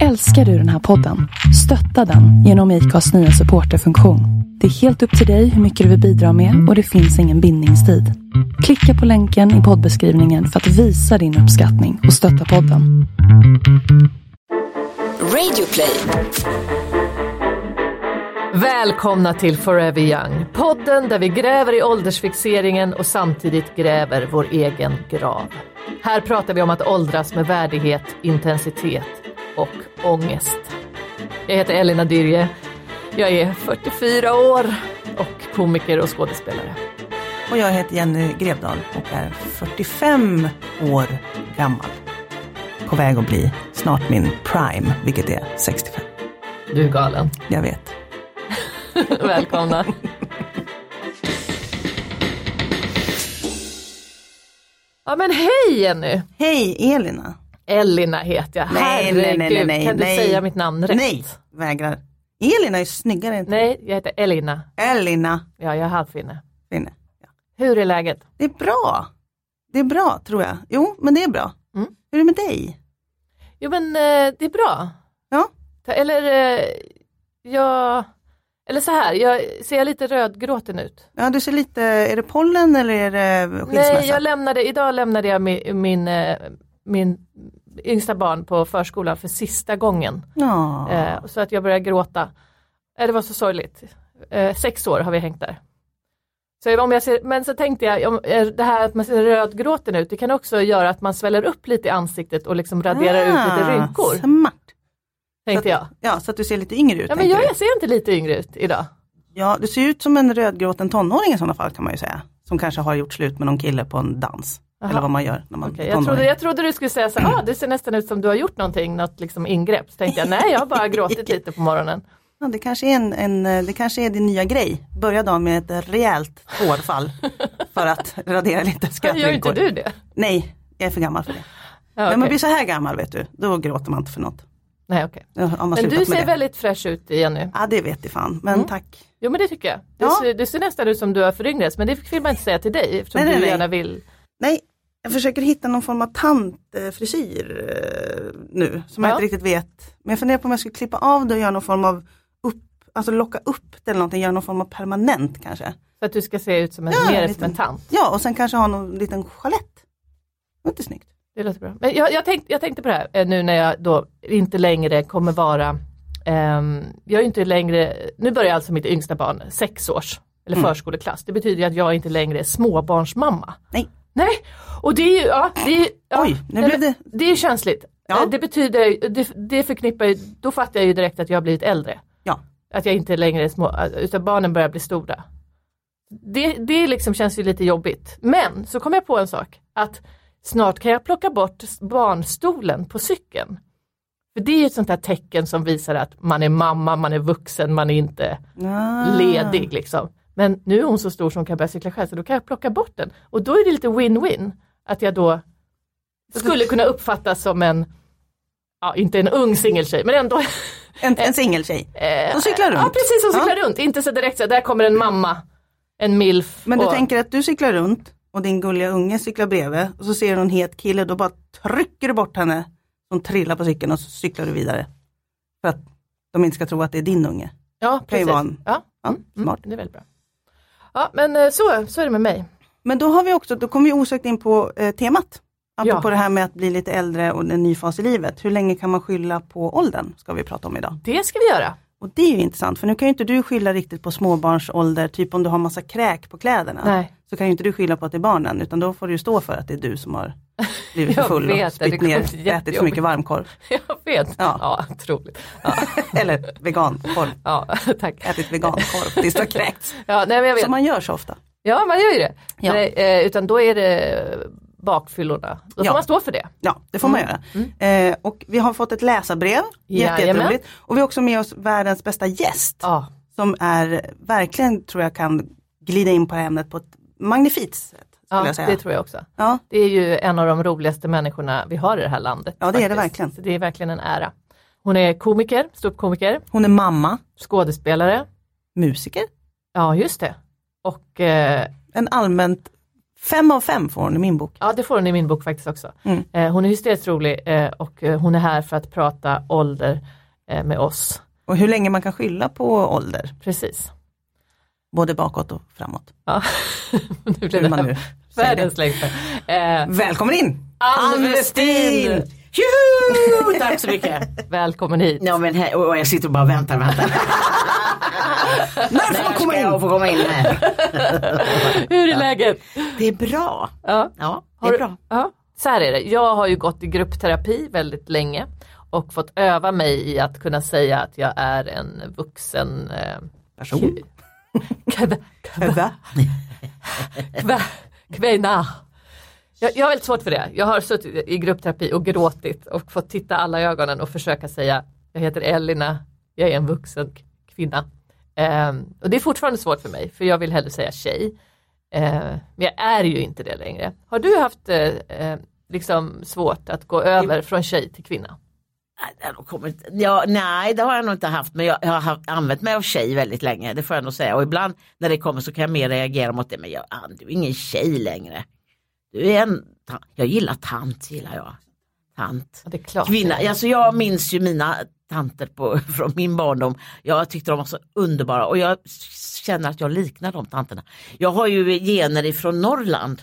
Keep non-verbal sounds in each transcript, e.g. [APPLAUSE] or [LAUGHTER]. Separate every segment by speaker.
Speaker 1: Älskar du den här podden? Stötta den genom IKAs nya supporterfunktion. Det är helt upp till dig hur mycket du vill bidra med och det finns ingen bindningstid. Klicka på länken i poddbeskrivningen för att visa din uppskattning och stötta podden.
Speaker 2: Radioplay.
Speaker 3: Välkomna till Forever Young, podden där vi gräver i åldersfixeringen och samtidigt gräver vår egen grav. Här pratar vi om att åldras med värdighet, intensitet och ångest. Jag heter Elina Dyrje. Jag är 44 år och komiker och skådespelare.
Speaker 4: Och jag heter Jenny Grevdal och är 45 år gammal. På väg att bli snart min prime, vilket är 65.
Speaker 3: Du är galen.
Speaker 4: Jag vet.
Speaker 3: Välkomna. Ja men hej Jenny!
Speaker 4: Hej Elina.
Speaker 3: Elina heter jag.
Speaker 4: Nej, nej, nej, nej,
Speaker 3: Herregud,
Speaker 4: nej,
Speaker 3: kan du
Speaker 4: nej.
Speaker 3: säga mitt namn rätt?
Speaker 4: Nej, vägrar. Elina är snyggare än
Speaker 3: Nej, jag heter Elina.
Speaker 4: Elina.
Speaker 3: Ja, jag är halvfinne.
Speaker 4: Finne. Ja.
Speaker 3: Hur är läget?
Speaker 4: Det är bra. Det är bra tror jag. Jo, men det är bra.
Speaker 3: Mm.
Speaker 4: Hur är det med dig?
Speaker 3: Jo men eh, det är bra.
Speaker 4: Ja.
Speaker 3: Ta- Eller eh, jag... Eller så här, jag ser jag lite rödgråten ut?
Speaker 4: Ja, du ser lite, är det pollen eller är det skilsmässa?
Speaker 3: Nej, jag lämnade, idag lämnade jag min, min, eh, min yngsta barn på förskolan för sista gången.
Speaker 4: Ja.
Speaker 3: Eh, så att jag började gråta. Eh, det var så sorgligt. Eh, sex år har vi hängt där. Så om jag ser, men så tänkte jag, om, eh, det här att man ser rödgråten ut, det kan också göra att man sväller upp lite i ansiktet och liksom raderar ut lite
Speaker 4: Ah,
Speaker 3: rynkor.
Speaker 4: Smart.
Speaker 3: Tänkte jag.
Speaker 4: Ja, så att du ser lite yngre ut.
Speaker 3: Ja, men
Speaker 4: tänker
Speaker 3: jag,
Speaker 4: du.
Speaker 3: jag ser inte lite yngre ut idag.
Speaker 4: Ja, du ser ju ut som en rödgråten tonåring i sådana fall kan man ju säga. Som kanske har gjort slut med någon kille på en dans.
Speaker 3: Jaha.
Speaker 4: Eller vad man gör när man
Speaker 3: Okej,
Speaker 4: är
Speaker 3: jag,
Speaker 4: tonåring.
Speaker 3: trodde, jag trodde du skulle säga så här, ah, det ser nästan ut som du har gjort någonting, något liksom ingrepp. Så tänkte jag, nej jag har bara
Speaker 4: [LAUGHS]
Speaker 3: gråtit lite på morgonen.
Speaker 4: ja, det, kanske är en, en, eh, det kanske är din nya grej. Börja dagen med ett rejält hårfall.
Speaker 3: [LAUGHS]
Speaker 4: för att radera lite
Speaker 3: Gör
Speaker 4: skrattrynkor.
Speaker 3: inte du det?
Speaker 4: Nej, jag är för gammal för det.
Speaker 3: Ja,
Speaker 4: När
Speaker 3: okej.
Speaker 4: man blir så här gammal vet du, då gråter man inte för något.
Speaker 3: Nej, okej.
Speaker 4: Då har man
Speaker 3: Men
Speaker 4: slutat
Speaker 3: du
Speaker 4: med
Speaker 3: ser
Speaker 4: det.
Speaker 3: väldigt Mm. fräsch ut igen nu.
Speaker 4: Ja, det vet jag fan. Men tack.
Speaker 3: Jo men det tycker jag. Du,
Speaker 4: Ja.
Speaker 3: ser, du ser nästan ut som du har föryngrats men det vill man inte säga till dig eftersom
Speaker 4: Nej, nej,
Speaker 3: du
Speaker 4: nej.
Speaker 3: gärna vill.
Speaker 4: Nej, jag försöker hitta någon form av tantfrisyr eh, nu som
Speaker 3: Ja.
Speaker 4: jag inte riktigt vet. Men jag funderar på om jag skulle klippa av det och göra någon form av upp, alltså locka upp det eller någonting, göra någon form av permanent kanske.
Speaker 3: Så att du ska se ut som en,
Speaker 4: Ja,
Speaker 3: mer
Speaker 4: en
Speaker 3: som en
Speaker 4: liten-
Speaker 3: tant.
Speaker 4: Ja, och sen kanske ha någon liten chalett. Det var inte snyggt.
Speaker 3: Det låter bra. Men jag, jag, tänkte, jag tänkte på det här eh, nu när jag då inte längre kommer vara, ehm, jag är inte längre, nu börjar alltså mitt yngsta barn sex års eller
Speaker 4: Mm.
Speaker 3: förskoleklass. Det betyder ju att jag inte längre är småbarnsmamma.
Speaker 4: Nej.
Speaker 3: Nej, och det är ju, ja, det är, ju- ja,
Speaker 4: Oj, nu
Speaker 3: eller-
Speaker 4: blev det-
Speaker 3: Det är ju känsligt.
Speaker 4: Ja.
Speaker 3: Eh, Det betyder, ju- det, det förknippar ju, då fattar jag ju direkt att jag har blivit äldre.
Speaker 4: Ja,
Speaker 3: Att jag inte längre är små, alltså, utan barnen börjar bli stora. Det, det liksom känns ju lite jobbigt. Men så kom jag på en sak, att snart kan jag plocka bort barnstolen på cykeln. För det är ju ett sånt här tecken som visar att man är mamma, man är vuxen, man är inte
Speaker 4: Ah.
Speaker 3: ledig liksom. Men nu är hon så stor som hon kan börja cykla själv så då kan jag plocka bort den. Och då är det lite win-win att jag då
Speaker 4: Alltså,
Speaker 3: skulle kunna uppfattas som en, ja inte en ung singeltjej men
Speaker 4: [LAUGHS]
Speaker 3: ändå
Speaker 4: en, en singeltjej. Som cyklar runt.
Speaker 3: Eh, Ja precis, som cyklar
Speaker 4: Ja.
Speaker 3: runt. Inte så direkt så här, där kommer en mamma, en milf.
Speaker 4: Men du
Speaker 3: och,
Speaker 4: tänker att du cyklar runt och din gulliga unge cyklar bredvid och så ser du en het kille, då bara trycker du bort henne. Hon trillar på cykeln och så cyklar du vidare. För att de inte ska tro att det är din unge.
Speaker 3: ja,
Speaker 4: kan ju
Speaker 3: precis.
Speaker 4: vara en-
Speaker 3: ja, mm,
Speaker 4: Ja, smart.
Speaker 3: det är väldigt bra. Ja men eh, så, så är det med mig.
Speaker 4: Men då har vi också, då kommer vi osökt in på eh, temat. Apropå
Speaker 3: Ja.
Speaker 4: det här med att bli lite äldre och en ny fas i livet. Hur länge kan man skylla på åldern? Ska vi prata om idag.
Speaker 3: Det ska vi göra. [LAUGHS]
Speaker 4: Och det är ju intressant för nu kan ju inte du skylla riktigt på småbarnsålder, typ om du har massa kräk på kläderna.
Speaker 3: Nej.
Speaker 4: Så kan ju inte du skylla på att det är barnen utan då får du ju stå för att det är du som har blivit för
Speaker 3: [LAUGHS] Jag
Speaker 4: full
Speaker 3: vet det,
Speaker 4: och
Speaker 3: det
Speaker 4: spytt
Speaker 3: kommer
Speaker 4: ner,
Speaker 3: bli
Speaker 4: ätit för
Speaker 3: jättejobbigt. [LAUGHS]
Speaker 4: mycket varmkorv.
Speaker 3: Jag vet. Ja,
Speaker 4: Ja.
Speaker 3: otroligt. Ja,
Speaker 4: Eller vegankorv,
Speaker 3: ja [LAUGHS] tack.
Speaker 4: ätit vegankorv tills du har kräkts.
Speaker 3: Ja, nej, men jag vet.
Speaker 4: Som man gör så ofta.
Speaker 3: Ja man gör ju det.
Speaker 4: Ja.
Speaker 3: Nej, eh, utan då är det bakfyllorna. Då får
Speaker 4: Ja.
Speaker 3: man stå för det.
Speaker 4: Ja, det får man göra. Eh, och vi har fått ett läsarbrev, jätte,
Speaker 3: Mm. Jajamän.
Speaker 4: jätteroligt. Och vi har också med oss världens bästa gäst.
Speaker 3: Ja.
Speaker 4: som är verkligen tror jag kan glida in på det här ämnet på ett magnifikt sätt. Skulle
Speaker 3: Ja,
Speaker 4: jag säga.
Speaker 3: det tror jag också.
Speaker 4: ja.
Speaker 3: Det är ju en av de roligaste människorna vi har i det här landet.
Speaker 4: Ja, det är det
Speaker 3: faktiskt.
Speaker 4: verkligen.
Speaker 3: Så det är verkligen en ära. Hon är komiker, ståuppkomiker,
Speaker 4: Hon är mamma,
Speaker 3: skådespelare,
Speaker 4: musiker,
Speaker 3: ja just det. Och eh,
Speaker 4: en allmänt Fem av fem får hon i min bok.
Speaker 3: Ja, det får hon i min bok faktiskt också.
Speaker 4: Mm.
Speaker 3: Eh, hon är hysteriskt rolig eh, och eh, hon är här för att prata ålder eh, med oss.
Speaker 4: Och hur länge man kan skylla på ålder,
Speaker 3: Precis.
Speaker 4: både bakåt och framåt.
Speaker 3: Ja. [LAUGHS] nu
Speaker 4: Hur
Speaker 3: blev det
Speaker 4: man nu
Speaker 3: här
Speaker 4: säger det.
Speaker 3: världens längsta. Eh,
Speaker 4: Välkommen in!
Speaker 3: Ann Westin!
Speaker 4: Westin!
Speaker 2: Tjoho! Tack
Speaker 3: [LAUGHS]
Speaker 2: så mycket.
Speaker 3: välkommen hit.
Speaker 2: Ja, men här, och jag sitter och bara väntar, väntar.
Speaker 4: När får man
Speaker 2: När
Speaker 4: komma
Speaker 2: ska jag
Speaker 4: in?
Speaker 2: få komma in här?
Speaker 3: [LAUGHS] Hur är läget?
Speaker 2: Det är bra.
Speaker 3: Ja.
Speaker 2: Ja, det
Speaker 3: Har
Speaker 2: är
Speaker 3: du-
Speaker 2: bra.
Speaker 3: Ja. Så här är det, jag har ju gått i gruppterapi väldigt länge och fått öva mig i att kunna säga att jag är en vuxen eh,
Speaker 4: Person.
Speaker 3: kv,
Speaker 4: Födda.
Speaker 3: kv, kvinna. Jag, jag har väldigt svårt för det. Jag har suttit i gruppterapi och gråtit och fått titta alla i ögonen och försöka säga jag heter Elina, jag är en vuxen k- kvinna. Ehm, och det är fortfarande svårt för mig för jag vill hellre säga tjej. Ehm, men jag är ju inte det längre. Har du haft eh, eh, liksom svårt att gå över från tjej till kvinna?
Speaker 2: Nej, det har nog kommit- Ja, nej, det har jag nog inte haft, men jag, jag har haft, använt mig av tjej väldigt länge, det får jag nog säga. Och ibland när det kommer så kan jag mer reagera mot det, men jag, Ann, du är ingen tjej längre. Du är en, ta- jag gillar tant, gillar jag. Tant.
Speaker 3: Ja, det är klart.
Speaker 2: Kvinna, alltså jag minns ju mina tanter på, [LAUGHS] från min barndom. Jag tyckte de var så underbara och jag känner att jag liknar de tanterna. Jag har ju gener ifrån Norrland.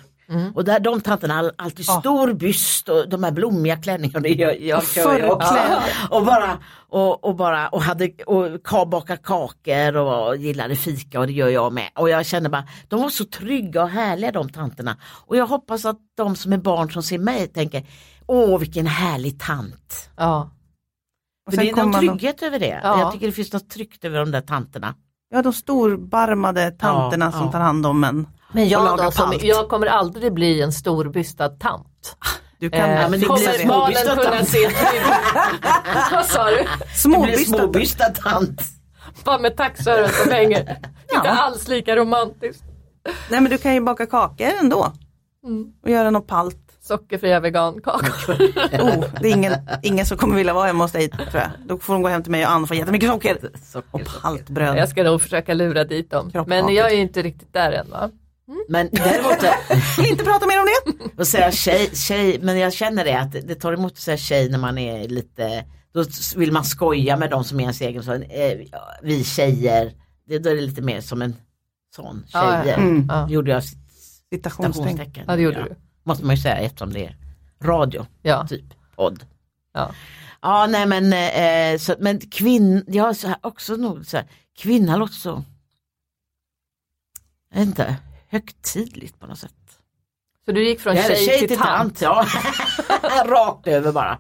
Speaker 2: Och där de tanterna har alltid stor byst och de här blommiga klänningarna. Jag, jag kör ju också.
Speaker 4: förklädd.
Speaker 2: Och bara, och, och bara och hade och ka, baka kakor och gillade fika och det gör jag med. Och jag känner bara, de var så trygga och härliga de tanterna. Och jag hoppas att de som är barn som ser mig tänker, åh vilken härlig tant.
Speaker 3: Ja.
Speaker 4: Och
Speaker 2: För
Speaker 4: sen
Speaker 2: det är
Speaker 4: kommer
Speaker 2: någon
Speaker 4: man då-
Speaker 2: trygghet över det.
Speaker 3: Ja.
Speaker 2: Jag tycker det finns något tryggt över de där tanterna.
Speaker 4: Ja, de storbarmade tanterna
Speaker 2: Ja,
Speaker 4: som
Speaker 2: ja.
Speaker 4: tar hand om en.
Speaker 3: Men
Speaker 4: Och
Speaker 3: jag,
Speaker 4: laga
Speaker 3: då, som,
Speaker 4: palt.
Speaker 3: jag kommer aldrig bli en storbystad tant.
Speaker 4: Du kan
Speaker 3: Eh,
Speaker 4: eh,
Speaker 2: men det
Speaker 4: fixa
Speaker 2: blir
Speaker 3: kommer
Speaker 4: det.
Speaker 2: små- småbystad
Speaker 3: barnen kunna
Speaker 2: tant.
Speaker 3: se till... [LAUGHS] Vad sa du?
Speaker 2: Det blir en
Speaker 4: Småbystad.
Speaker 2: småbystad tant.
Speaker 3: Bara med taxöron som hänger. Inte alls lika romantiskt.
Speaker 4: Nej men du kan ju baka kakor ändå. Och göra något palt.
Speaker 3: Sockerfria vegankakor.
Speaker 4: Oh, det är ingen, ingen som kommer vilja vara hemma hos dig tror jag. Då får de gå hem till mig och Ann får jättemycket socker. Och paltbröd.
Speaker 3: Jag ska nog försöka lura dit dem.
Speaker 4: Kroppmatigt.
Speaker 3: Men jag är ju inte riktigt där än va?
Speaker 2: Men däremot,
Speaker 4: Vill inte prata mer om det.
Speaker 2: att säga tjej, tjej, men jag känner det att det tar emot att säga tjej när man är lite, då vill man skoja med de som är ens egen, så, eh, vi tjejer, det, då är det lite mer som en sån,
Speaker 3: Ja, ja.
Speaker 2: tjejer.
Speaker 4: Mm.
Speaker 3: Ja,
Speaker 2: Gjorde jag
Speaker 4: Citationstecken.
Speaker 2: citationstecken.
Speaker 3: ja det gjorde du.
Speaker 2: Måste man ju säga eftersom det är radio,
Speaker 3: Ja.
Speaker 2: typ podd.
Speaker 3: Ja.
Speaker 2: Ja, nej men, eh, så, men kvinn, jag har så här, också nog så här, kvinna låter så, jag vet inte, högtidligt på något sätt.
Speaker 3: Så du gick från
Speaker 2: Ja, eller
Speaker 3: tjej, till, tant.
Speaker 2: Ja. [LAUGHS] Rakt över bara.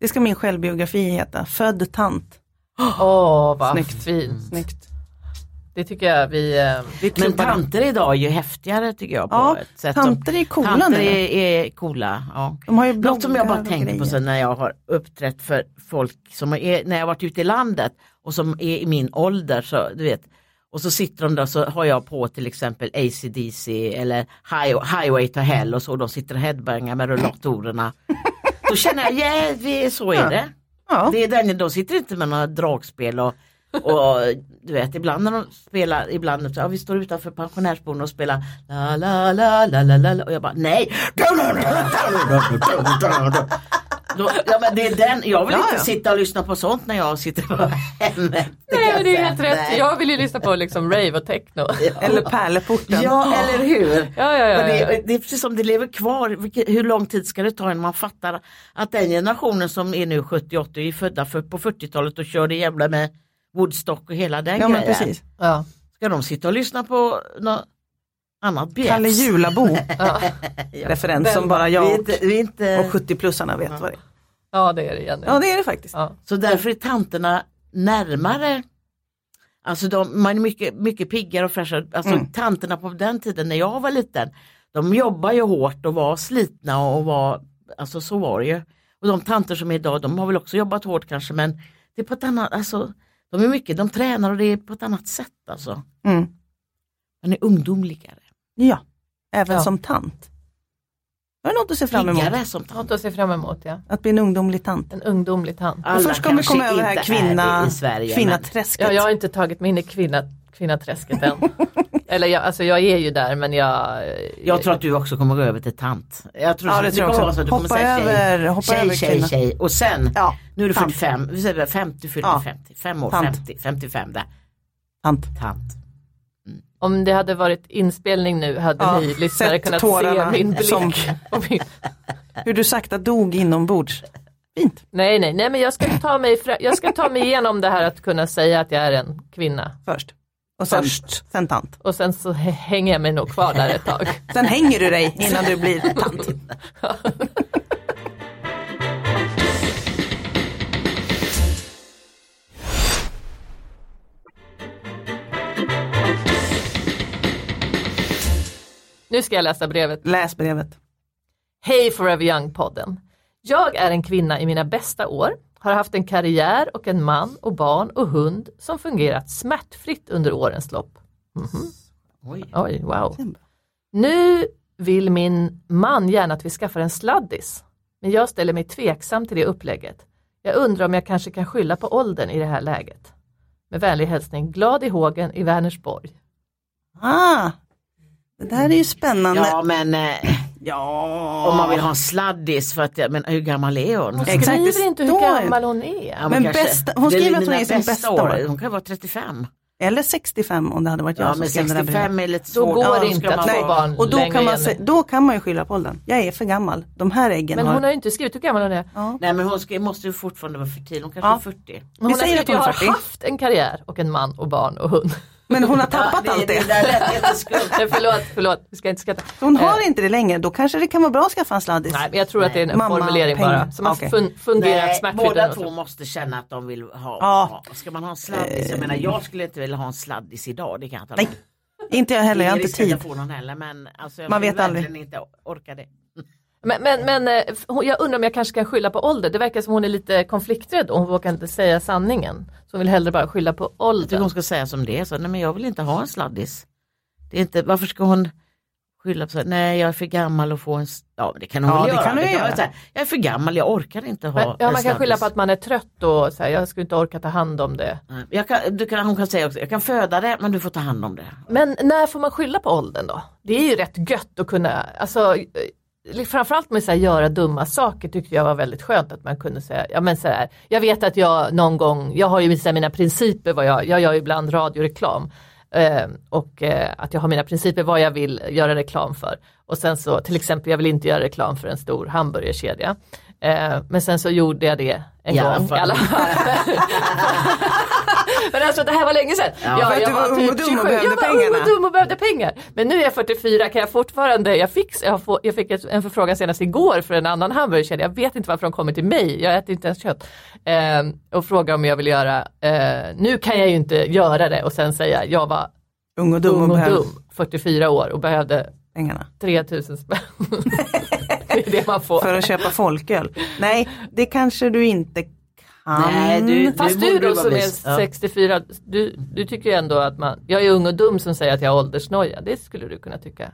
Speaker 4: Det ska min självbiografi heta. Född tant.
Speaker 3: Åh vad
Speaker 4: Snyggt.
Speaker 3: fint.
Speaker 4: Snyggt.
Speaker 3: Det tycker jag vi... eh,
Speaker 4: Vi
Speaker 2: Men
Speaker 4: klubbar dem.
Speaker 2: tanter idag är ju häftigare tycker jag. På
Speaker 4: Ja,
Speaker 2: ett sätt som-
Speaker 4: tanter är coola
Speaker 2: tanter
Speaker 4: nu.
Speaker 2: är, är coola. Ja.
Speaker 4: De har ju
Speaker 2: Något som jag
Speaker 4: bloggar
Speaker 2: bara
Speaker 4: och
Speaker 2: tänkt på
Speaker 4: grejer.
Speaker 2: sen när jag har uppträtt för folk som är, när jag har varit ute i landet och som är i min ålder så du vet och så sitter de där så har jag på till exempel ACDC eller High, Highway to Hell och så och de sitter och headbangar
Speaker 4: [LAUGHS]
Speaker 2: med rullatorerna. Då känner jag, ja det, så är det.
Speaker 4: Ja.
Speaker 2: Det är den, de sitter inte med några dragspel och, och du vet ibland när de spelar, ibland så, ja, vi står utanför pensionärsboende och spelar la la la la la la la och jag bara nej. [LAUGHS] Då, ja, men det är den, jag vill
Speaker 4: Ja,
Speaker 2: inte
Speaker 4: ja.
Speaker 2: sitta och lyssna på sånt när jag sitter på hemmet.
Speaker 3: Nej men det är
Speaker 2: kan
Speaker 3: helt
Speaker 2: säga.
Speaker 3: rätt.
Speaker 2: Nej.
Speaker 3: Jag vill ju lyssna på liksom rave och techno. Ja
Speaker 4: Eller pärleporten.
Speaker 2: Ja eller hur.
Speaker 3: ja ja.
Speaker 2: Och
Speaker 3: ja, ja.
Speaker 2: det, det är precis som det lever kvar. Vilket, hur lång tid ska det ta innan man fattar att den generationen som är nu 70-80 är födda för, på 40-talet och körde jävla med Woodstock och hela den
Speaker 4: Ja men
Speaker 2: grejen.
Speaker 4: precis.
Speaker 3: ja.
Speaker 2: Ska de sitta och lyssna på något annat bjäs?
Speaker 4: Kalle
Speaker 2: [LAUGHS]
Speaker 4: Julabo.
Speaker 3: ja.
Speaker 4: [LAUGHS] Referens som
Speaker 3: Vem-
Speaker 4: bara
Speaker 2: Vi är
Speaker 4: jag och,
Speaker 2: inte, vi är inte,
Speaker 4: och 70-plussarna vet vad det är.
Speaker 3: ja det är det Jenny.
Speaker 4: Ja det är det faktiskt.
Speaker 3: Ja.
Speaker 2: Så därför är tanterna närmare Alltså de, man är mycket, mycket piggare och fräschare. Alltså
Speaker 4: Mm.
Speaker 2: tanterna på den tiden när jag var liten, de jobbar ju hårt och var slitna och var, alltså så var det ju. Och de tanter som är idag, de har väl också jobbat hårt kanske men det är på ett annat, alltså de är mycket, de tränar och det är på ett annat sätt alltså.
Speaker 4: Mm.
Speaker 2: Man är ungdomligare,
Speaker 4: Ja, även
Speaker 3: Ja.
Speaker 4: som tant. Har du något att se fram emot?
Speaker 2: piggare som tant.
Speaker 3: Något att se fram emot ja.
Speaker 4: Att bli en ungdomlig tant.
Speaker 3: En ungdomlig tant.
Speaker 2: Alla
Speaker 4: först kommer vi
Speaker 2: kanske
Speaker 4: komma över det
Speaker 2: inte
Speaker 4: här
Speaker 2: är det
Speaker 4: kvinna,
Speaker 2: i Sverige, men-
Speaker 3: [LAUGHS]
Speaker 4: kvinnaträsket.
Speaker 3: Ja, jag har inte tagit mig in i kvinna, kvinnaträsket än. Eller jag, alltså jag är ju där men jag... eh,
Speaker 2: Jag tror att du också kommer gå över till tant. Jag tror
Speaker 4: Ja,
Speaker 2: att
Speaker 4: det
Speaker 2: du
Speaker 4: tror jag också.
Speaker 2: kommer vara så, du kommer
Speaker 4: Hoppa
Speaker 2: säga tjej,
Speaker 4: över- hoppa
Speaker 2: tjej,
Speaker 4: över
Speaker 2: tjej,
Speaker 4: kvinna.
Speaker 2: tjej. Och sen,
Speaker 4: Ja,
Speaker 2: nu är du
Speaker 4: tant.
Speaker 2: 45, vi säger 50, du fyller
Speaker 4: Ja.
Speaker 2: 50, 5 år,
Speaker 4: Sant.
Speaker 2: 50, 55 där,
Speaker 4: Tant.
Speaker 2: tant.
Speaker 3: Om det hade varit inspelning nu hade
Speaker 4: Ja,
Speaker 3: ni lyssnare
Speaker 4: sett
Speaker 3: kunnat se
Speaker 4: tårarna
Speaker 3: min blick. [LAUGHS]
Speaker 4: som-
Speaker 3: och min...
Speaker 4: Hur du sakta dog inombords. Fint.
Speaker 3: Nej, nej, nej, men jag ska, ta mig fra... jag ska ta mig igenom det här att kunna säga att jag är en kvinna.
Speaker 4: Först. Och sen,
Speaker 2: Först.
Speaker 4: sen tant.
Speaker 3: Och sen så h- hänger jag mig nog kvar där ett tag.
Speaker 4: Sen hänger du dig innan du blir tant.
Speaker 3: Nu ska jag läsa brevet.
Speaker 4: Läs brevet.
Speaker 3: Hej Forever Young-podden. Jag är en kvinna i mina bästa år, har haft en karriär och en man och barn och hund som fungerat smärtfritt under årens lopp. Mhm.
Speaker 2: Oj.
Speaker 3: Oj, wow. Nu vill min man gärna att vi skaffar en sladdis, men jag ställer mig tveksam till det upplägget. Jag undrar om jag kanske kan skylla på åldern i det här läget. Med vänlig hälsning, glad i hågen i Vänersborg.
Speaker 4: Ah, det där är ju spännande.
Speaker 2: Ja men eh,
Speaker 4: Ja.
Speaker 2: om man vill ha en sladdis för att, jag- men hur gammal är hon?
Speaker 4: Exakt, det
Speaker 3: Skriver inte hur
Speaker 4: står ju.
Speaker 3: gammal hon är.
Speaker 2: Ja,
Speaker 4: men
Speaker 2: kanske-
Speaker 4: bästa- hon
Speaker 2: det
Speaker 4: skriver att
Speaker 2: mina
Speaker 4: hon är i sin bästa år.
Speaker 2: Hon kan vara 35.
Speaker 4: Eller 65 om det hade varit jag
Speaker 2: Ja,
Speaker 4: som
Speaker 2: men
Speaker 4: skrev det där brevet.
Speaker 2: 65 är lite
Speaker 3: Då
Speaker 2: svårt.
Speaker 3: går
Speaker 2: Ja,
Speaker 3: det
Speaker 2: ska
Speaker 3: inte att
Speaker 2: man
Speaker 3: få
Speaker 2: vara-
Speaker 3: barn
Speaker 4: Och då
Speaker 3: längre
Speaker 4: kan, man
Speaker 3: än-
Speaker 4: se, då kan man ju skylla på åldern. Jag är för gammal. De här äggen
Speaker 3: Men
Speaker 4: har...
Speaker 3: hon har ju inte skrivit hur gammal hon är.
Speaker 4: ja.
Speaker 2: Nej men hon ska, måste ju fortfarande vara fertil, hon kanske är 40.
Speaker 3: Men
Speaker 4: Vi
Speaker 3: hon har
Speaker 4: säger
Speaker 3: skrivit
Speaker 4: att hon är
Speaker 3: jag har
Speaker 4: 40.
Speaker 3: haft en karriär och en man och barn och hund.
Speaker 4: Men hon har tappat
Speaker 2: Ja,
Speaker 4: allt det.
Speaker 2: Det där lät
Speaker 4: [LAUGHS]
Speaker 2: jätteskumt.
Speaker 3: [LAUGHS] Nej, förlåt, förlåt, vi ska inte skratta.
Speaker 4: Hon har
Speaker 3: Eh,
Speaker 4: inte det längre. Då kanske det kan vara bra att skaffa en sladdis.
Speaker 3: Nej, men jag tror att det är en
Speaker 4: Mamma,
Speaker 3: formulering bara.
Speaker 4: pengar.
Speaker 3: Som har
Speaker 4: Okej.
Speaker 3: fun- fungerat
Speaker 2: Nej,
Speaker 3: smärtfritt.
Speaker 2: båda
Speaker 3: eller
Speaker 2: två
Speaker 3: något.
Speaker 2: måste känna att de vill ha,
Speaker 4: Ja.
Speaker 2: ha. Ska man ha en sladdis? Jag menar jag skulle inte vilja ha en sladdis idag. Det kan jag tala
Speaker 4: Nej,
Speaker 2: om.
Speaker 4: Inte jag heller. Jag har inte
Speaker 2: Ingen risk att
Speaker 4: tid.
Speaker 2: Jag får någon heller men alltså, jag
Speaker 4: Man
Speaker 2: skulle
Speaker 4: vet aldrig.
Speaker 2: verkligen inte orka det.
Speaker 3: Men, men, men eh, f- hon- jag undrar om jag kanske kan skylla på ålder. Det verkar som hon är lite konflikträdd och hon vågar inte säga sanningen. Så hon vill hellre bara skylla på
Speaker 2: Jag tycker
Speaker 3: åldern.
Speaker 2: hon ska säga som det är, så, nej men jag vill inte ha en sladdis. Det är inte, varför ska hon skylla på så här, nej jag är för gammal att få en, s- ja det kan hon
Speaker 4: Ja,
Speaker 2: väl
Speaker 4: det
Speaker 2: göra.
Speaker 4: kan hon göra.
Speaker 2: väl säga, jag är för gammal, jag orkar inte ha
Speaker 3: Men, ja,
Speaker 2: en
Speaker 3: man kan
Speaker 2: sladdis.
Speaker 3: skylla på att man är trött och så här, jag skulle inte orka ta hand om det.
Speaker 2: Nej, Jag kan, du kan, hon kan säga också, jag kan föda det men du får ta hand om det.
Speaker 3: Men när får man skylla på åldern då? Det är ju rätt gött att kunna, alltså eh, framförallt med att göra dumma saker tyckte jag var väldigt skönt att man kunde säga, ja men så här, jag vet att jag någon gång, jag har ju så här, mina principer, vad jag, jag gör ju ibland radioreklam eh, och eh, att jag har mina principer vad jag vill göra reklam för. Och sen så till exempel, jag vill inte göra reklam för en stor hamburgerkedja. Eh, men sen så gjorde jag det en
Speaker 2: I alla
Speaker 3: gång
Speaker 2: fall.
Speaker 3: i alla fall. men alltså det här var länge sedan.
Speaker 2: Ja, för
Speaker 4: att du var ung och dum och
Speaker 3: 27.
Speaker 4: behövde
Speaker 3: jag var
Speaker 4: pengarna.
Speaker 3: Ung och dum och behövde pengar. Men nu är jag 44, kan jag fortfarande, jag fick, jag får, jag fick ett- en förfrågan senast igår för en annan hamburgerkedja, jag vet inte varför de kommer till mig, jag äter inte ens kött. Ehm, och frågar om jag vill göra, eh, nu kan jag ju inte göra det och sen säga jag var
Speaker 4: Ung och dum
Speaker 3: dum
Speaker 4: och
Speaker 3: och
Speaker 4: behöver
Speaker 3: dum, 44 år och behövde
Speaker 4: pengarna.
Speaker 3: 3000
Speaker 4: [LAUGHS]
Speaker 3: spänn. det är det man får.
Speaker 4: För att köpa folköl. Nej, det kanske du inte kan.
Speaker 2: Nej, du,
Speaker 3: Fast du
Speaker 2: borde
Speaker 3: då
Speaker 2: vara
Speaker 3: som
Speaker 2: vis.
Speaker 3: är 64, du, du tycker ju ändå att man, jag är ung och dum som säger att jag har åldersnoja, det skulle du kunna tycka.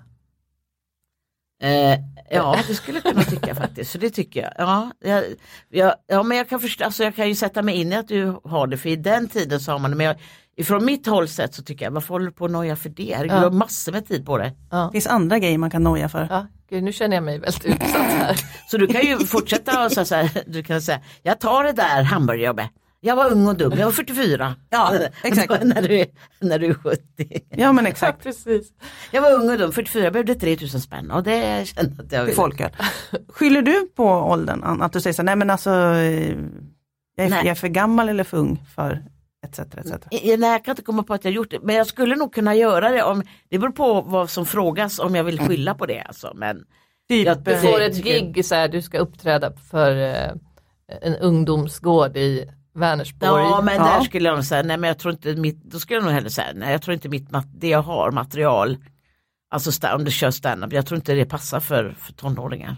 Speaker 2: Ja. Eh, ja, det skulle jag kunna tycka faktiskt. Så det tycker jag. Ja, jag, jag, ja men jag kan, förstå, alltså, jag kan ju sätta mig in i att du har det, för i den tiden så har man det. Men jag, ifrån mitt håll sett så tycker jag, varför håller du på och noja för det? Du har massor med tid på det.
Speaker 4: Det finns andra grejer man kan noja för.
Speaker 3: Ja, gud, nu känner jag mig väldigt
Speaker 4: [LAUGHS]
Speaker 3: utsatt här.
Speaker 2: Så du kan ju fortsätta och så, så här, du kan säga, jag tar det där hamburgerjobbet. Jag var ung och dum, jag var 44.
Speaker 4: Ja, exakt.
Speaker 2: [LAUGHS] när, du, är- när du är 70.
Speaker 4: Ja men exakt.
Speaker 3: precis.
Speaker 2: Jag var ung och dum, 44, jag behövde 3000 spänn och det kände att jag
Speaker 4: till
Speaker 2: ville.
Speaker 4: folköl. Skyller du på åldern? Ann? Att du säger så här, nej men alltså, eh, jag är,
Speaker 2: Nej.
Speaker 4: jag är för gammal eller för ung för etc. etc.
Speaker 2: I- i- Nej, jag kan inte komma på att jag gjort det, men jag skulle nog kunna göra det. Om, det beror på vad som frågas om jag vill skylla på det. Alltså. Men,
Speaker 4: Typ,
Speaker 2: Jag-
Speaker 3: Du
Speaker 4: eh,
Speaker 3: får ett gig, så här, du ska uppträda för eh, en ungdomsgård i Vänersborg.
Speaker 2: ja, men
Speaker 4: Ja.
Speaker 2: där skulle jag nog säga, nej men jag tror inte mitt, då skulle jag nog hellre säga, nej jag tror inte mitt, mat- det jag har material, alltså sta- om du kör standup, jag tror inte det passar för, för tonåringar.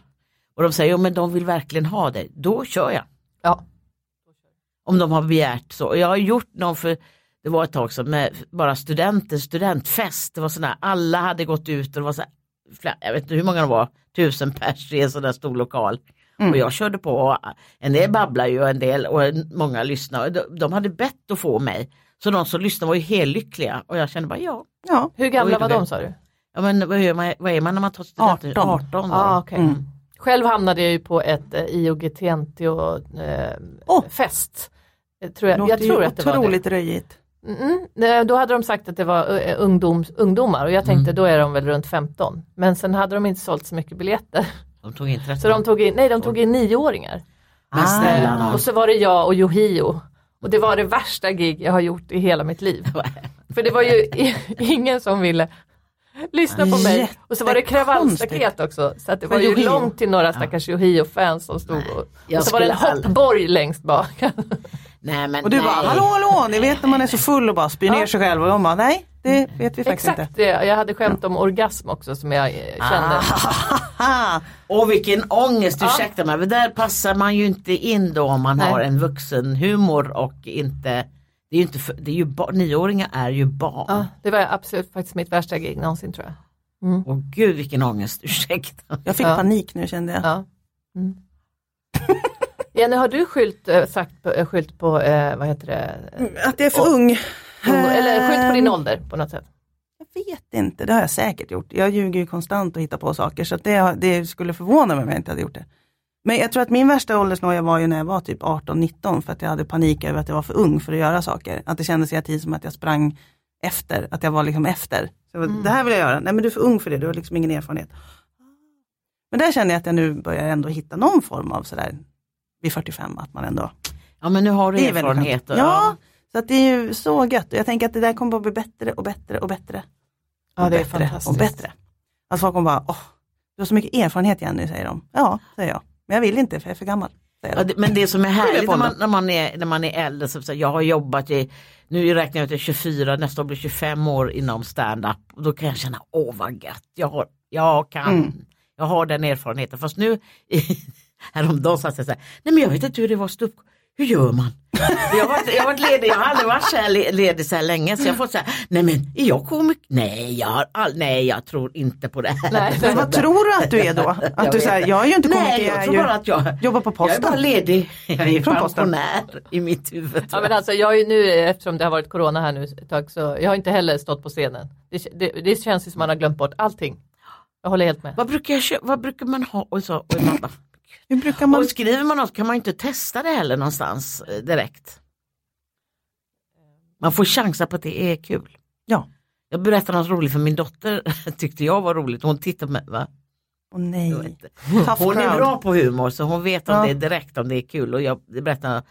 Speaker 2: Och de säger, jo men de vill verkligen ha det, då kör jag.
Speaker 3: Ja.
Speaker 2: Om de har begärt så. Och Jag har gjort någon för, det var ett tag sedan, med bara studenter, studentfest. Det var sådär, alla hade gått ut och det var så här, flera- jag vet inte hur många det var, tusen pers i en sån där stor lokal.
Speaker 4: Mm.
Speaker 2: Och jag körde på, och en del babblar ju och en del och en- många lyssnar. De, de hade bett att få mig. Så de som lyssnade var ju helt lyckliga och jag kände bara ja.
Speaker 4: Ja,
Speaker 3: Hur gamla
Speaker 2: Oj,
Speaker 3: var
Speaker 2: det-
Speaker 3: de sa du?
Speaker 2: ja men vad, gör man, vad är man när man tar studenten?
Speaker 4: 18.
Speaker 2: 18
Speaker 3: Ah,
Speaker 2: va?
Speaker 3: okay.
Speaker 4: Mm.
Speaker 3: Själv hamnade jag ju på ett eh, IOGT-fest. Eh,
Speaker 4: Åh!
Speaker 3: fest. Eh, tror jag,
Speaker 4: låter
Speaker 3: jag tror
Speaker 4: ju
Speaker 3: att det var det.
Speaker 4: otroligt röjigt.
Speaker 3: Mm, nej, då hade de sagt att det var eh, ungdoms, ungdomar och jag
Speaker 4: Mm.
Speaker 3: tänkte då är de väl runt 15. Men sen hade de inte sålt så mycket biljetter. [LAUGHS]
Speaker 2: De tog in 13.
Speaker 3: Så de tog in, nej, de tog in nioåringar.
Speaker 2: Men
Speaker 4: Ah.
Speaker 2: snälla
Speaker 3: Eh,
Speaker 2: nån.
Speaker 3: Och så var det jag och Yohio. Och det var det värsta gig jag har gjort i hela mitt liv. För det var ju i- ingen som ville lyssna på mig. Och så var det kravallstaket också. Så att det
Speaker 4: För
Speaker 3: var ju
Speaker 4: Yohio.
Speaker 3: långt till några stackars Yohio-fans som stod och...
Speaker 2: jag
Speaker 3: Och så var det en
Speaker 2: skulle aldrig-
Speaker 3: hoppborg längst bak.
Speaker 2: Nej, men
Speaker 4: Och du
Speaker 2: nej.
Speaker 4: bara, hallå hallå, ni vet när man är så full och bara spyr ner sig själv och de bara, nej det vet vi faktiskt
Speaker 3: Exakt
Speaker 4: inte.
Speaker 3: det, jag hade skämt om orgasm också som jag eh, kände.
Speaker 4: Ah,
Speaker 2: Och vilken ångest,
Speaker 3: Ja.
Speaker 2: ursäkta mig. Men där passar man ju inte in då om man
Speaker 3: Nej.
Speaker 2: har en vuxen humor och inte, det är ju inte, för, det är ju bar, nioåringar är ju barn.
Speaker 3: Ja, det var absolut faktiskt mitt värsta gig någonsin tror jag.
Speaker 2: Och gud vilken ångest, [LAUGHS] ursäkta.
Speaker 4: jag fick
Speaker 3: Ja.
Speaker 4: panik nu kände jag.
Speaker 3: Ja. Mm. Jenny, har du skylt, eh, sagt, på- eh, skylt på, eh, vad heter det,
Speaker 4: Att jag är för ung.
Speaker 3: Eller skylt på din
Speaker 4: Ehm,
Speaker 3: ålder på något sätt.
Speaker 4: Jag vet inte, det har jag säkert gjort. Jag ljuger ju konstant och hittar på saker så att det, har- det skulle förvåna mig om jag inte hade gjort det. Men jag tror att min värsta åldersnoja var ju när jag var typ 18-19 för att jag hade panik över att jag var för ung för att göra saker. Att det kändes hela tiden som att jag sprang efter, att jag var liksom efter. Så jag bara,
Speaker 2: Mm.
Speaker 4: Det här vill jag göra, nej men du är för ung för det, du har liksom ingen erfarenhet. Men där känner jag att jag nu börjar ändå hitta någon form av sådär vid 45 att man ändå
Speaker 2: Ja men nu har du
Speaker 4: det är väldigt
Speaker 2: erfarenhet.
Speaker 4: skönt.
Speaker 2: och-
Speaker 4: Ja, så att det är ju så gött. Och jag tänker att det där kommer bara bli bättre och bättre och bättre.
Speaker 3: Ja,
Speaker 4: Och
Speaker 3: det är
Speaker 4: bättre
Speaker 3: fantastiskt.
Speaker 4: Och bättre. Alltså folk kommer bara, åh, du har så mycket erfarenhet Jenny, säger de. Ja, säger jag. Men jag vill inte för jag är för gammal. Säger
Speaker 2: Ja,
Speaker 4: de.
Speaker 2: det- men det som är
Speaker 4: Skyller
Speaker 2: härligt
Speaker 4: på
Speaker 2: när man,
Speaker 4: åldern.
Speaker 2: när man, är, när man är äldre, som sagt, jag har jobbat i, nu räknar jag ut att jag är 24, nästa år blir 25 år inom stand-up. Och då kan jag känna, åh vad gött, jag, har, jag kan, jag har den erfarenheten. Fast nu, [LAUGHS] i, häromdagen satt jag så här, nej men jag vet inte hur det var att stå upp. hur gör man? [LAUGHS] Jag har, varit, jag har varit ledig, jag har aldrig varit så här le- ledig så här länge så jag har fått så här, nej men är jag komiker? Nej, jag har all, nej jag tror inte på det här.
Speaker 3: Nej,
Speaker 4: Men vad tror du att du är då? Att
Speaker 2: [LAUGHS] Jag
Speaker 4: du
Speaker 2: vet
Speaker 4: säger, jag är ju inte komiker,
Speaker 2: Nej, jag
Speaker 4: är
Speaker 2: tror
Speaker 4: ju-
Speaker 2: bara att jag
Speaker 4: jobbar på posten.
Speaker 2: Jag är bara
Speaker 4: [LAUGHS]
Speaker 2: ledig. Jag är
Speaker 4: Från posten.
Speaker 2: pensionär i mitt huvud.
Speaker 3: Ja, men alltså, jag har ju nu, eh, eftersom det har varit corona här nu ett tag, så jag har inte heller stått på scenen. Det, det, det känns ju som man har glömt bort allting. Jag håller helt med.
Speaker 2: Vad brukar, jag, kö- vad brukar man ha? Och, så, och, man bara,
Speaker 4: Hur brukar [LAUGHS] man...
Speaker 2: och skriver man något kan man ju inte testa det heller någonstans eh, direkt. Man får chansa på att det är kul.
Speaker 4: Ja.
Speaker 2: Jag berättade något roligt för min dotter [LAUGHS] tyckte jag var roligt. Hon tittade på mig. Va?
Speaker 4: Åh
Speaker 2: Jag
Speaker 4: nej.
Speaker 2: vet inte.
Speaker 4: Tough
Speaker 2: Mm. [LAUGHS] Hon är
Speaker 4: crowd.
Speaker 2: bra på humor så hon vet om
Speaker 4: Ja.
Speaker 2: det är direkt om det är kul. Och jag, berättade,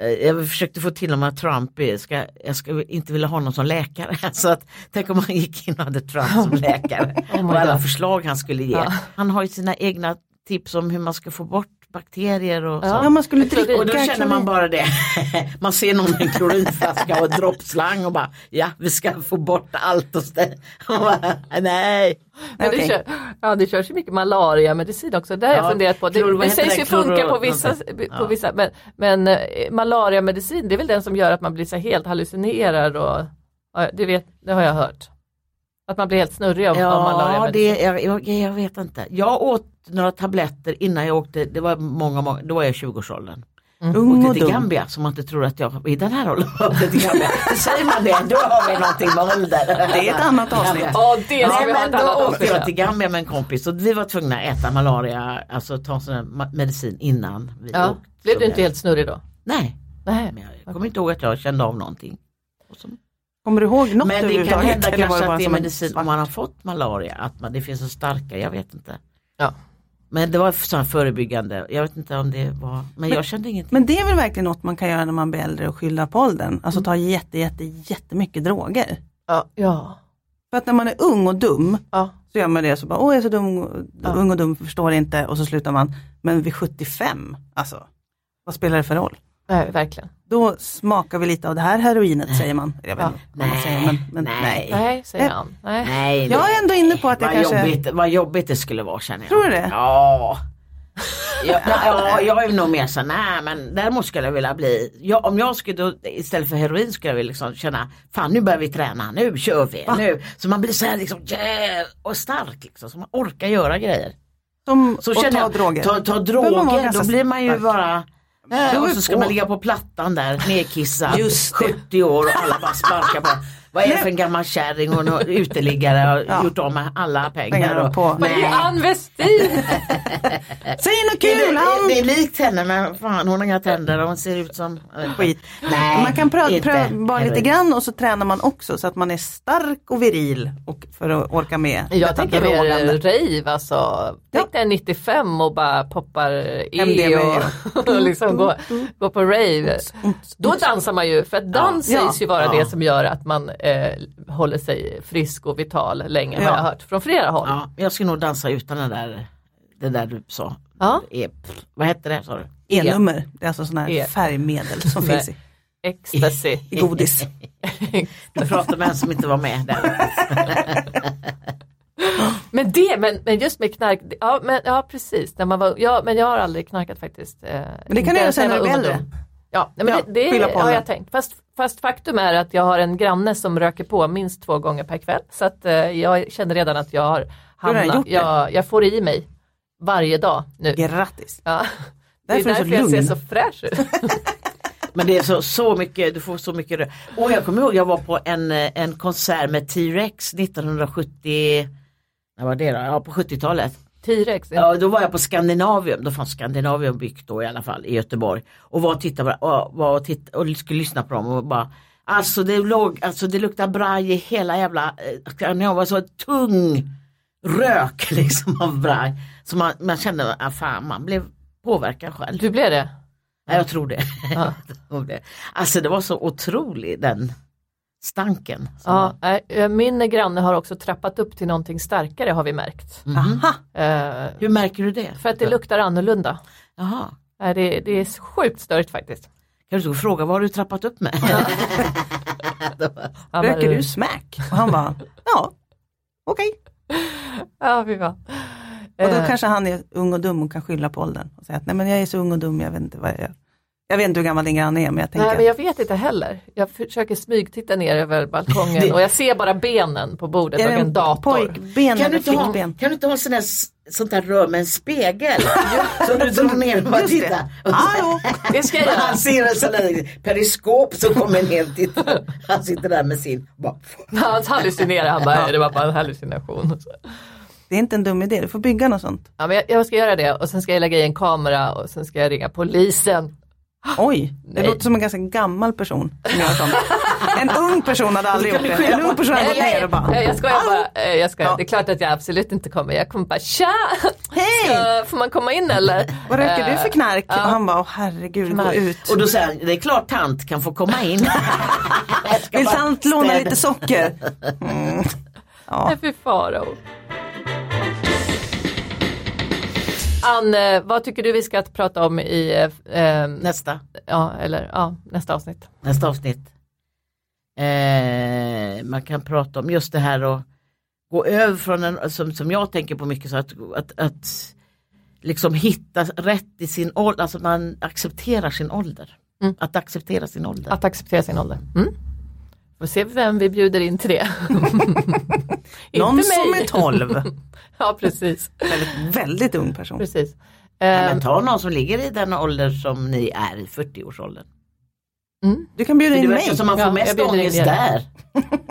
Speaker 2: eh, jag försökte få till honom att Trump är, ska, jag ska inte vilja ha någon som läkare. [LAUGHS] Så att, tänk om han gick in och hade Trump som läkare.
Speaker 3: Oh my
Speaker 2: och alla
Speaker 3: God.
Speaker 2: förslag han skulle ge.
Speaker 3: Ja.
Speaker 2: Han har ju sina egna tips om hur man ska få bort bakterier och så.
Speaker 4: Ja, man skulle
Speaker 3: Jag tror det-
Speaker 4: dricka
Speaker 2: Och då känner
Speaker 4: klorin.
Speaker 2: man bara det. [LAUGHS] Man ser någon med en klorinflaska och en droppslang och bara ja vi ska få bort allt. Och stä- [LAUGHS] och bara, Nej.
Speaker 3: Men det,
Speaker 4: Okej.
Speaker 3: kör, ja, det körs ju mycket malariamedicin också, det har jag
Speaker 2: Ja,
Speaker 3: funderat på. Det,
Speaker 2: klor- vad
Speaker 3: det
Speaker 2: heter
Speaker 3: sägs
Speaker 2: det?
Speaker 3: ju funka
Speaker 2: Klor-
Speaker 3: på vissa,
Speaker 2: någonting.
Speaker 3: på
Speaker 2: Ja.
Speaker 3: vissa men, men eh, malariamedicin det är väl den som gör att man blir så här helt hallucinerad och ja, det, vet, det har jag hört. Att man blir helt snurrig av, av
Speaker 2: Ja,
Speaker 3: malariamedicin.
Speaker 2: det, jag, jag, jag vet inte. Jag åt några tabletter innan jag åkte, det var många, många då var jag i 20-årsåldern.
Speaker 3: Mm.
Speaker 4: Ung och
Speaker 2: åkte till
Speaker 4: dum.
Speaker 2: Gambia som man inte tror att jag var i den här åldern. [LAUGHS] åkte till Gambia. Säger man det, då har vi någonting med ålder.
Speaker 4: Det är ett annat avsnitt.
Speaker 3: Ja, det ska
Speaker 2: Nej
Speaker 3: vi ha ett
Speaker 2: men
Speaker 3: annat
Speaker 2: då åkte
Speaker 3: avsnitt om.
Speaker 2: jag till Gambia med en kompis och vi var tvungna att äta malaria, alltså ta sån här ma- medicin innan vi
Speaker 3: Ja.
Speaker 2: åkte.
Speaker 3: Blev
Speaker 2: Så
Speaker 3: du inte helt snurrig då?
Speaker 2: Nej,
Speaker 3: Nej.
Speaker 2: men jag kommer inte ihåg att jag kände av någonting. Och så-
Speaker 4: Kommer du ihåg något
Speaker 2: Men det kan
Speaker 4: överhuvudtaget?
Speaker 2: hända
Speaker 4: Eller var
Speaker 2: kanske
Speaker 4: bara
Speaker 2: att det är
Speaker 4: som en
Speaker 2: medicin
Speaker 4: svart-
Speaker 2: om man har fått malaria, att man, det finns så starka, jag vet inte.
Speaker 3: Ja.
Speaker 2: Men det var sån förebyggande, jag vet inte om det var, men, jag kände ingenting.
Speaker 4: Men det är väl verkligen något man kan göra när man blir äldre och skylla på åldern. Alltså ta jätte, jätte, jättemycket droger.
Speaker 3: Ja. Ja.
Speaker 4: För att när man är ung och dum
Speaker 3: ja.
Speaker 4: så gör man det så bara, åh jag är så dum, och- ung och dum, förstår inte och så slutar man. Men vid 75, alltså vad spelar det för roll?
Speaker 3: Nej, verkligen.
Speaker 4: Då smakar vi lite av det här heroinet säger man. Jag vet inte vad man säger men, men
Speaker 2: Nej.
Speaker 4: nej.
Speaker 3: Nej, säger
Speaker 4: Nej.
Speaker 3: han. Nej.
Speaker 2: Nej,
Speaker 4: Jag är ändå inne på att jag
Speaker 2: vad,
Speaker 4: kanske,
Speaker 2: jobbigt, vad jobbigt det skulle vara känner jag.
Speaker 4: Tror du det?
Speaker 2: Ja. Ja, ja, jag är nog mer så nej men däremot skulle jag vilja bli, ja, om jag skulle då, istället för heroin skulle jag vilja liksom känna, fan nu börjar vi träna, nu
Speaker 4: Ah.
Speaker 2: kör vi, nu. Så man blir så här liksom, yeah, och stark liksom, så man orkar göra grejer.
Speaker 4: Som,
Speaker 2: Så
Speaker 4: och
Speaker 2: känner
Speaker 4: ta
Speaker 2: jag,
Speaker 4: droger.
Speaker 2: Ta, ta
Speaker 4: Men man var
Speaker 2: droger,
Speaker 4: ganska
Speaker 2: då blir man ju
Speaker 4: stark.
Speaker 2: bara
Speaker 4: Då
Speaker 2: eh,
Speaker 4: är
Speaker 2: och
Speaker 4: vi
Speaker 2: så ska
Speaker 4: på.
Speaker 2: man ligga på
Speaker 4: [LAUGHS]
Speaker 2: plattan där nedkissad,
Speaker 4: Just det.
Speaker 2: 70 år och alla bara sparkar på Vad är det för en gammal kärring och en uteliggare har
Speaker 4: Ja.
Speaker 2: gjort av med alla
Speaker 4: Pengar
Speaker 2: pengar?
Speaker 4: och på.
Speaker 5: Men det är ju Ann Westin!
Speaker 4: Säg något
Speaker 2: Det,
Speaker 4: kul!
Speaker 2: det,
Speaker 4: han-
Speaker 2: det är likt henne men fan hon har inga tänder och hon ser ut som
Speaker 4: Skit.
Speaker 2: Nej,
Speaker 4: man kan pröva
Speaker 2: inte.
Speaker 4: prö- bara lite
Speaker 2: Herregud.
Speaker 4: grann och så tränar man också så att man är stark och viril och för att orka med.
Speaker 3: [LAUGHS]
Speaker 4: detta
Speaker 3: Jag tänker mer
Speaker 4: drogande.
Speaker 3: rave alltså. Tänk dig 95 och bara poppar E
Speaker 4: MDMA.
Speaker 3: [LAUGHS] och, och liksom går, går på rave. Då dansar man ju för att dans
Speaker 4: Ja.
Speaker 3: sägs ju vara
Speaker 2: Ja.
Speaker 3: det som gör att man eh, håller sig frisk och vital länge
Speaker 4: Ja.
Speaker 3: har jag hört från flera håll. Ja.
Speaker 2: Ja, jag skulle nog dansa utan den där, det där du sa. E, pff, vad hette det sa du?
Speaker 4: E-nummer, det är alltså sådana här
Speaker 3: E.
Speaker 4: färgmedel som
Speaker 3: Nej.
Speaker 4: finns i,
Speaker 3: Ecstasy.
Speaker 4: i
Speaker 2: [LAUGHS]
Speaker 4: godis.
Speaker 2: Du pratar med en som inte var med där.
Speaker 3: Men det, men, men just med knark, ja, men, ja precis, när man var, ja, men jag har aldrig knarkat faktiskt. eh,
Speaker 4: det kan
Speaker 3: inte
Speaker 4: du göra
Speaker 3: ens
Speaker 4: sen
Speaker 3: jag
Speaker 4: när
Speaker 3: var
Speaker 4: du
Speaker 3: ung
Speaker 4: blir
Speaker 3: och
Speaker 4: äldre.
Speaker 3: dum. Ja, nej, men
Speaker 4: Ja,
Speaker 3: det, det
Speaker 4: skylla på
Speaker 3: har
Speaker 4: andra.
Speaker 3: jag tänkt. Fast, fast faktum är att jag har en granne som röker på minst två gånger per kväll. Så att eh, jag känner redan att jag har
Speaker 4: har redan
Speaker 3: hamnat,
Speaker 4: gjort det.
Speaker 3: jag, jag får i mig varje dag nu.
Speaker 4: Grattis!
Speaker 3: Ja. Det är
Speaker 4: Därför är du
Speaker 3: därför
Speaker 4: så
Speaker 3: jag ser
Speaker 4: lugn.
Speaker 3: så fräsch ut.
Speaker 4: [LAUGHS]
Speaker 2: Men det är så, så mycket, du får så mycket rö- Och jag kommer ihåg jag var på en, eh, en konsert med T-Rex 1970, när var det då? Ja på 70-talet.
Speaker 3: T-rex. Ja.
Speaker 2: Ja, då var jag på Skandinavium, då fanns Skandinavium byggt då i alla fall i Göteborg. Och var och tittade på, och, var och, titt, och skulle lyssna på dem och bara Alltså det, låg, alltså det luktade braj i hela jävla, eh, Skandinavium var så tung rök [LAUGHS] liksom av braj. Så man, man kände, ah, fan man blev påverkad själv.
Speaker 3: Du blev det?
Speaker 2: Ja, jag tror det.
Speaker 3: Ja.
Speaker 2: [LAUGHS] Jag tror det. Alltså det var så otrolig den stanken. som var.
Speaker 3: Ja, nej, eh, min granne har också trappat upp till någonting starkare har vi märkt.
Speaker 4: Aha,
Speaker 3: Eh,
Speaker 2: Hur märker du det?
Speaker 3: för att det luktar annorlunda.
Speaker 2: Jaha.
Speaker 3: Nej, Det, det är sjukt störigt faktiskt.
Speaker 2: Kan du inte fråga vad har du trappat upp med?
Speaker 3: Ja, men-
Speaker 4: röker du smack? Och han bara, [LAUGHS] ja, okej.
Speaker 3: Ja, fy fan.
Speaker 4: Och då
Speaker 3: Eh,
Speaker 4: kanske han är ung och dum och kan skylla på åldern och säga att nej men jag är så ung och dum, jag vet inte vad jag gör. Jag vet inte hur gammal din granne är men jag tänker
Speaker 3: Nej men jag vet inte heller. Jag försöker smygtitta ner över
Speaker 4: [LAUGHS]
Speaker 3: balkongen och jag ser bara benen på bordet
Speaker 4: är
Speaker 3: och
Speaker 4: det
Speaker 3: en dator.
Speaker 4: pojkben
Speaker 2: [LAUGHS] Kan du,
Speaker 4: eller
Speaker 2: inte ha,
Speaker 4: flickben?
Speaker 2: kan du inte ha sån där, s- sånt där rör med en spegel? [LAUGHS] som du drar ner och bara
Speaker 4: Just det.
Speaker 2: tittar.
Speaker 4: Hallå!
Speaker 3: Det ska jag
Speaker 4: [LAUGHS]
Speaker 3: göra.
Speaker 2: Han ser en sån där periskop som kommer ner och tittar. Han sitter där med sin. Bara,
Speaker 3: Han hallucinerar, han bara, "Nej, det var bara en hallucination.
Speaker 4: Det är inte en dum idé, du får bygga något sånt.
Speaker 3: Ja, men jag, jag ska göra det och sen ska jag lägga i en kamera och sen ska jag ringa polisen.
Speaker 4: Oj, det
Speaker 3: Ah, Nej.
Speaker 4: låter som en ganska gammal person som gör sånt. En ung person hade aldrig gjort det. En ung person hade gått ner och bara,
Speaker 3: Nej, jag skojar bara. Eh, Jag skojar.
Speaker 4: Ja.
Speaker 3: Det är klart att jag absolut inte kommer. Jag kommer bara tja!
Speaker 4: hej,
Speaker 3: Ska, får man komma in eller?
Speaker 4: vad röker du
Speaker 3: Eh,
Speaker 4: för knark? Och han bara, åh herregud, gå
Speaker 3: Knark.
Speaker 4: ut.
Speaker 2: och då säger han, det är klart tant kan få komma in. Jag ska
Speaker 4: Vill
Speaker 2: bara
Speaker 4: sant låna
Speaker 2: städa.
Speaker 4: lite socker?
Speaker 3: Nej, fy farao. Anne, vad tycker du vi ska att prata om i eh, eh,
Speaker 2: Nästa.
Speaker 3: ja, eller, ja, nästa avsnitt?
Speaker 2: nästa avsnitt. Eh, man kan prata om just det här och gå över från en, som, som jag tänker på mycket, så att, att, att liksom hitta rätt i sin ålder, alltså att man accepterar sin ålder. Att acceptera sin ålder.
Speaker 3: Att acceptera sin ålder. Mm. Får se vem vi bjuder in till det.
Speaker 4: Någon
Speaker 3: Inte
Speaker 4: som
Speaker 3: mig.
Speaker 4: är 12.
Speaker 3: ja, precis.
Speaker 4: Väldigt, väldigt ung person.
Speaker 3: precis.
Speaker 2: Ja,
Speaker 3: Eh,
Speaker 2: [LAUGHS] men ta någon som ligger i den ålder som ni är i 40-årsåldern.
Speaker 4: Du kan bjuda
Speaker 2: Det
Speaker 4: in
Speaker 2: verkar
Speaker 4: mig.
Speaker 2: som man får
Speaker 3: Ja, jag
Speaker 2: mest
Speaker 3: bjuder in
Speaker 2: ångest
Speaker 3: er.
Speaker 2: där.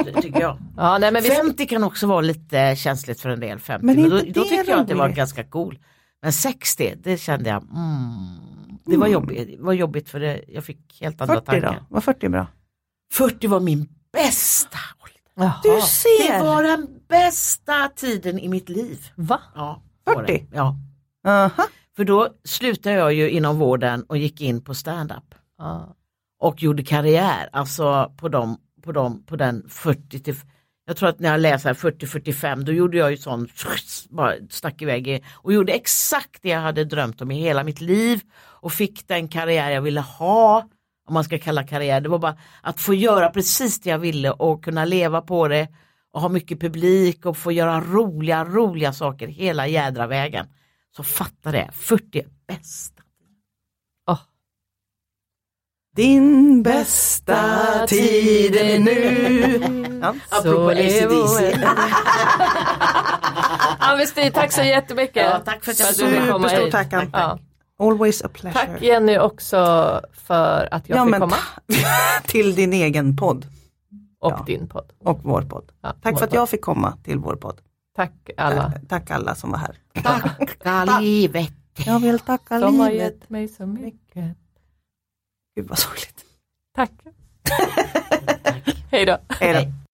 Speaker 2: Det tycker jag.
Speaker 3: ja, nej, men vi,
Speaker 2: 50 kan också vara lite känsligt för en del, 50. Men,
Speaker 4: Men är
Speaker 2: då,
Speaker 4: inte
Speaker 2: då
Speaker 4: det
Speaker 2: tycker jag att det var
Speaker 4: roligt?
Speaker 2: ganska cool. Men 60, det kände jag, mm, det var jobbigt, det var jobbigt för det, jag fick helt andra
Speaker 4: 40
Speaker 2: tankar.
Speaker 4: då? Var 40 bra?
Speaker 2: 40 var min bästa ålder.
Speaker 4: Du
Speaker 3: Jaha,
Speaker 4: ser!
Speaker 2: Det var den bästa tiden i mitt liv.
Speaker 3: va?
Speaker 2: Ja, var det.
Speaker 4: 40?
Speaker 2: Ja.
Speaker 4: Aha.
Speaker 2: För då slutade jag ju inom vården och gick in på stand-up.
Speaker 3: Ja.
Speaker 2: och gjorde karriär, alltså på, dem, på, dem, på den 40 till, jag tror att när jag läser 40-45 då gjorde jag ju sån, [LAUGHS] bara stack iväg i- och gjorde exakt det jag hade drömt om i hela mitt liv och fick den karriär jag ville ha, om man ska kalla karriär, det var bara att få göra precis det jag ville och kunna leva på det och ha mycket publik och få göra roliga, roliga saker hela jädra vägen. Så fatta det, 40 är bäst.
Speaker 3: Åh.
Speaker 4: Din bästa tid är nu. Ja.
Speaker 3: [LAUGHS]
Speaker 2: Apropå
Speaker 3: Så är
Speaker 2: AC/DC.
Speaker 3: vår-
Speaker 5: Amnesty, tack så jättemycket.
Speaker 2: Ja, tack för att jag
Speaker 5: du ville komma
Speaker 4: Superstort
Speaker 5: hit.
Speaker 4: tack, Ann.
Speaker 5: Ja.
Speaker 4: Always a pleasure.
Speaker 3: Tack Jenny också för att jag
Speaker 4: ja,
Speaker 3: fick
Speaker 4: men,
Speaker 3: komma.
Speaker 4: till din egen podd
Speaker 3: Och
Speaker 4: ja.
Speaker 3: din podd.
Speaker 4: och vår podd.
Speaker 3: Ja,
Speaker 4: Tack
Speaker 3: vår
Speaker 4: för att
Speaker 3: podd.
Speaker 4: jag fick komma till vår podd.
Speaker 3: Tack alla.
Speaker 4: Eh, Tack alla som var här.
Speaker 2: Tacka livet.
Speaker 4: Jag vill tacka
Speaker 3: De har
Speaker 4: livet.
Speaker 3: gett mig så mycket.
Speaker 4: Gud vad sorgligt. [LAUGHS]
Speaker 3: Tack. Hej då.
Speaker 4: Hej då.
Speaker 2: Hej.